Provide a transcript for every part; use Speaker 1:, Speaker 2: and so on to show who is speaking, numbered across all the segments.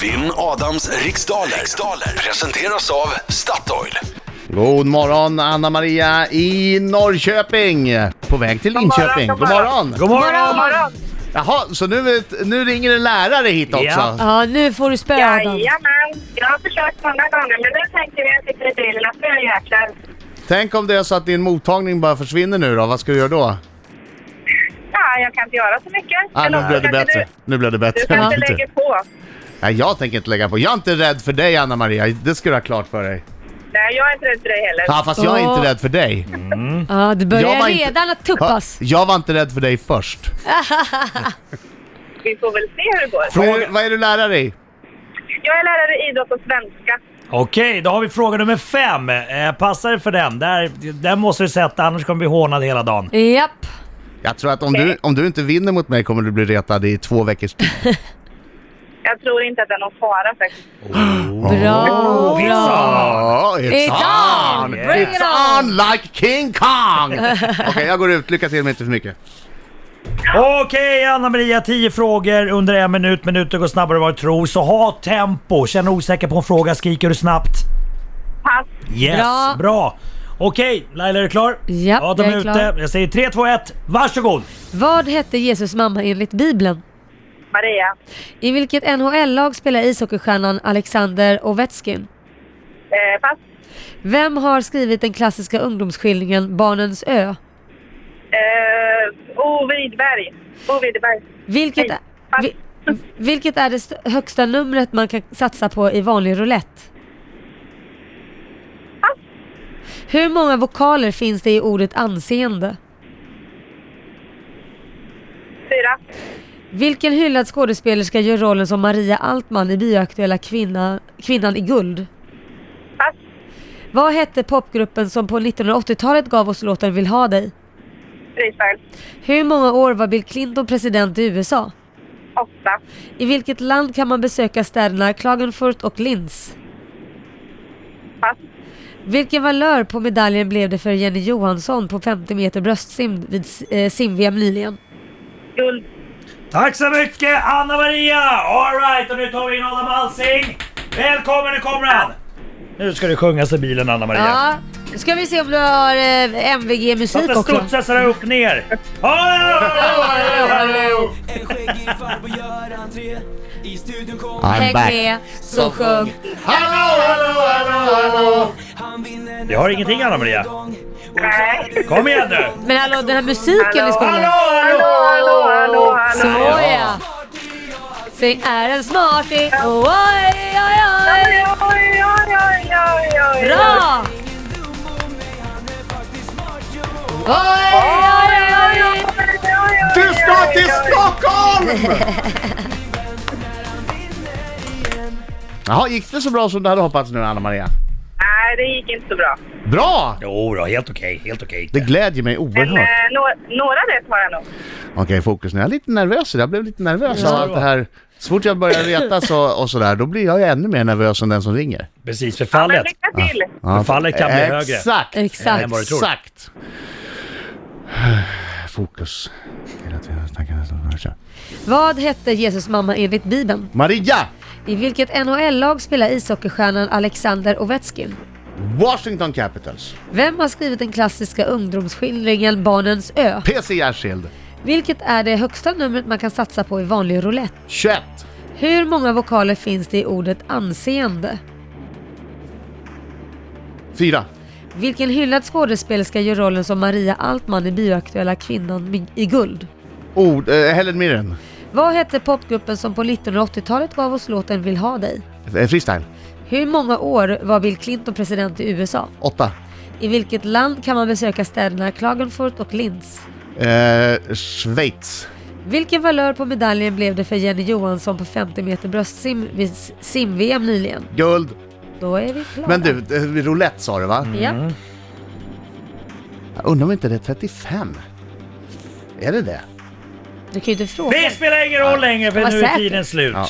Speaker 1: Vinn Adams riksdaler. riksdaler presenteras av Statoil.
Speaker 2: God morgon Anna-Maria i Norrköping! På väg till Linköping. God morgon!
Speaker 3: God morgon!
Speaker 2: Jaha, så nu, vet- nu ringer en lärare hit också?
Speaker 3: Ja.
Speaker 4: Ja, nu får du spöa Adam.
Speaker 5: Jajamän. Jag har försökt många gånger men nu tänker vi att vi sitter i bilen för jäklar.
Speaker 2: Tänk om det är så att din mottagning bara försvinner nu då, vad ska du göra då?
Speaker 5: Ja, jag kan inte göra så mycket.
Speaker 2: Ah, nu
Speaker 5: Eller
Speaker 2: blev det
Speaker 5: kanske
Speaker 2: bättre.
Speaker 5: Du,
Speaker 2: Nu blev det
Speaker 5: du
Speaker 2: bättre.
Speaker 5: kanske lägger på.
Speaker 2: Nej, jag tänker inte lägga på. Jag är inte rädd för dig Anna-Maria, det ska du ha klart för dig.
Speaker 5: Nej, jag är inte rädd för dig heller.
Speaker 2: Ja, fast jag är
Speaker 4: Ja.
Speaker 2: inte rädd för dig.
Speaker 4: Ja, du
Speaker 2: Jag var
Speaker 4: börjar
Speaker 2: inte-
Speaker 4: redan att
Speaker 2: Ja,
Speaker 4: tuppas.
Speaker 2: Jag var inte rädd för dig först.
Speaker 5: Vi får väl se hur det går.
Speaker 2: Vad är, du- vad är du lärare i?
Speaker 5: Jag är lärare i idrott och svenska.
Speaker 3: Okej, då har vi fråga nummer fem. Eh, passar det för den? Där, den måste du sätta, annars kommer vi bli hånade hela dagen.
Speaker 4: Japp.
Speaker 2: Jag tror att om du, om du inte vinner mot mig kommer du bli retad i två veckors tid.
Speaker 5: Jag tror inte att det är någon fara faktiskt.
Speaker 4: Bra, bra.
Speaker 2: Ja, it's,
Speaker 4: It's
Speaker 2: on!
Speaker 4: on! Bring
Speaker 2: it's
Speaker 4: it on!
Speaker 2: on like King Kong! Okej, jag går ut. Lycka till men inte för mycket.
Speaker 3: Okej Anna-Maria, 10 frågor under en minut. Minuter går snabbare än vad du tror. Så ha tempo. Känner du osäker på en fråga skriker du snabbt.
Speaker 5: Pass.
Speaker 3: Yes, bra.
Speaker 4: Bra.
Speaker 3: Okej, Laila är du klar?
Speaker 4: Japp,
Speaker 3: Adam
Speaker 4: jag är
Speaker 3: ute.
Speaker 4: klar.
Speaker 3: Jag säger 3, 2, 1. Varsågod!
Speaker 4: Vad hette Jesus mamma enligt Bibeln?
Speaker 5: Maria.
Speaker 4: I vilket NHL-lag spelar ishockeystjärnan Alexander Ovechkin?
Speaker 5: Eh, pass.
Speaker 4: Vem har skrivit den klassiska ungdomsskildringen Barnens ö?
Speaker 5: Eh, o Widberg. O Widberg.
Speaker 4: Vilket,
Speaker 5: Nej,
Speaker 4: är-
Speaker 5: pass.
Speaker 4: vi, vilket är det st- högsta numret man kan satsa på i vanlig roulette?
Speaker 5: Pass.
Speaker 4: Hur många vokaler finns det i ordet anseende?
Speaker 5: Fyra.
Speaker 4: Vilken hyllad skådespelerska gör rollen som Maria Altman i bioaktuella kvinna, Kvinnan i guld?
Speaker 5: Pass.
Speaker 4: Vad hette popgruppen som på 1980-talet gav oss låten Vill ha dig?
Speaker 5: Freestyle.
Speaker 4: Hur många år var Bill Clinton president i USA?
Speaker 5: Åtta.
Speaker 4: I vilket land kan man besöka städerna Klagenfurt och Linz?
Speaker 5: Pass.
Speaker 4: Vilken valör på medaljen blev det för Jenny Johansson på 50 meter bröstsim vid eh, sim-VM nyligen?
Speaker 5: Guld.
Speaker 3: Tack så mycket Anna-Maria! Alright, och nu tar vi in Adam Alsing. Välkommen, nu kommer han! Nu ska det sjungas i bilen Anna-Maria.
Speaker 4: Ja, nu ska vi se om du har eh,
Speaker 2: Typ
Speaker 4: MVG-musik
Speaker 3: Låt
Speaker 4: också.
Speaker 3: studsa sådär upp ner.
Speaker 6: En skäggig farbror gör entré I studion kommer
Speaker 2: I'm
Speaker 4: Häng
Speaker 2: back.
Speaker 4: med, så sjung.
Speaker 2: Hallå, hallå, hallå, hallå!
Speaker 6: Han vinner nästa
Speaker 3: Jag har ingenting, Anna-Maria.
Speaker 6: gång.
Speaker 5: Nej.
Speaker 3: Kom igen nu!
Speaker 4: Men hallå, den här musiken ni
Speaker 3: Hallå,
Speaker 4: spelar.
Speaker 3: hallå!
Speaker 5: Hallå, hallå, hallå.
Speaker 4: Såja! Säg är en smarty, oj, oj, oj.
Speaker 5: Oj, oj, oj, oj, oj, oj.
Speaker 4: Bra! Oj, oj, oj, oj.
Speaker 2: Du ska till Stockholm! Jaha, gick det så bra som du hade hoppats nu Anna-Maria?
Speaker 5: Nej, det gick inte så bra.
Speaker 2: Bra!
Speaker 3: Jo då, helt okej, helt okej.
Speaker 2: Det glädjer mig
Speaker 5: Men
Speaker 2: oerhört.
Speaker 5: eh, några, några rätt har jag nog.
Speaker 2: Okej, fokus nu. Jag är lite nervös idag. Jag blev lite nervös av allt det här. Så fort jag börjar reta så, och sådär, då blir jag ju ännu mer nervös än den som ringer.
Speaker 3: Precis,
Speaker 5: Men
Speaker 3: förfallet.
Speaker 5: lycka till!
Speaker 2: Ja,
Speaker 3: Fallet kan bli högre.
Speaker 2: Exakt!
Speaker 4: Exakt.
Speaker 3: Än vad du tror.
Speaker 2: Exakt! Fokus. Hela tiden tankarna som rör sig.
Speaker 4: Vad hette Jesus mamma enligt Bibeln?
Speaker 2: Maria!
Speaker 4: I vilket NHL-lag spelar ishockeystjärnan Alexander Ovechkin?
Speaker 2: Washington Capitals.
Speaker 4: Vem har skrivit den klassiska ungdomsskildringen Barnens ö?
Speaker 2: PC Jersild.
Speaker 4: Vilket är det högsta numret man kan satsa på i vanlig roulette?
Speaker 2: 21.
Speaker 4: Hur många vokaler finns det i ordet anseende?
Speaker 2: 4.
Speaker 4: Vilken hyllad skådespelerska gör rollen som Maria Altman i bioaktuella Kvinnan mi- i guld?
Speaker 2: Ord. Eh, Helen Mirren.
Speaker 4: Vad hette popgruppen som på 1980-talet gav oss låten Vill ha dig?
Speaker 2: Eh, Freestyle.
Speaker 4: Hur många år var Bill Clinton president i USA?
Speaker 2: 8.
Speaker 4: I vilket land kan man besöka städerna Klagenfurt och Linz?
Speaker 2: Eh, Schweiz.
Speaker 4: Vilken valör på medaljen blev det för Jenny Johansson på 50 meter bröstsim vid s- sim-VM nyligen?
Speaker 2: Guld.
Speaker 4: Då är vi klara.
Speaker 2: Men du, eh, roulette sa du va?
Speaker 3: Mm.
Speaker 4: Ja.
Speaker 2: Jag undrar om inte det är 35? Är det det?
Speaker 4: Du kan ju inte fråga.
Speaker 3: Det spelar ingen roll längre för
Speaker 4: Vad
Speaker 3: nu är
Speaker 4: säkert.
Speaker 3: tiden slut.
Speaker 2: Ja.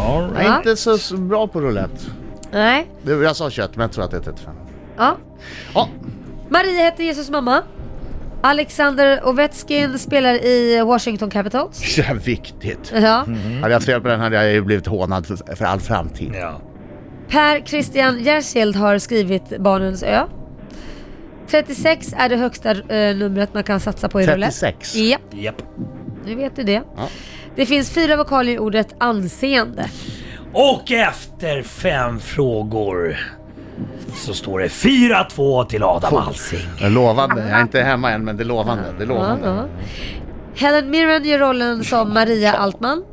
Speaker 3: All
Speaker 2: Jag
Speaker 3: right.
Speaker 2: är inte så så bra på roulette.
Speaker 4: Nej.
Speaker 2: Det- Jag sa kött, men jag tror att det är 35.
Speaker 4: Ja.
Speaker 2: Ja,
Speaker 4: Maria hette Jesus mamma. Alexander Ovechkin spelar i Washington Capitals.
Speaker 2: Ja, viktigt.
Speaker 4: Ja.
Speaker 2: Mm. Hade jag haft fel på den hade jag ju blivit hånad för, för all framtid.
Speaker 3: Ja.
Speaker 4: Per Christian Jersild har skrivit Barnens ö. 36 är det högsta eh, numret man kan satsa på i roulette.
Speaker 2: 36?
Speaker 4: Ja,
Speaker 3: Japp.
Speaker 4: nu vet du det.
Speaker 2: Ja.
Speaker 4: Det finns fyra vokaler i ordet anseende.
Speaker 3: Och efter fem frågor så står det 4-2 till Adam Alsing.
Speaker 2: Det är Lovande. Jag är inte hemma än, men det är lovande. Det är
Speaker 4: Ja,
Speaker 2: lovande.
Speaker 4: ja. Helen Mirren gör rollen som Maria Altman.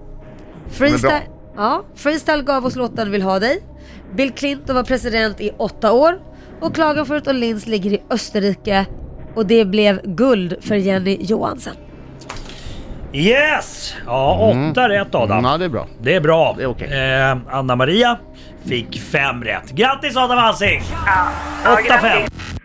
Speaker 4: Freestyle, ja, freestyle gav oss låten Vill ha dig. Bill Clinton var president i åtta år. Och Klagenfurt och Linz ligger i Österrike. Och det blev guld för Jenny Johansen.
Speaker 3: Yes! Ja, åtta rätt Adam.
Speaker 2: Mm. Ja, det är bra.
Speaker 3: Det är bra.
Speaker 2: Det är okej.
Speaker 3: eh, Anna-Maria fick fem rätt. Grattis Adam Alsing!
Speaker 5: Ja,
Speaker 3: 8-5.
Speaker 5: grattis.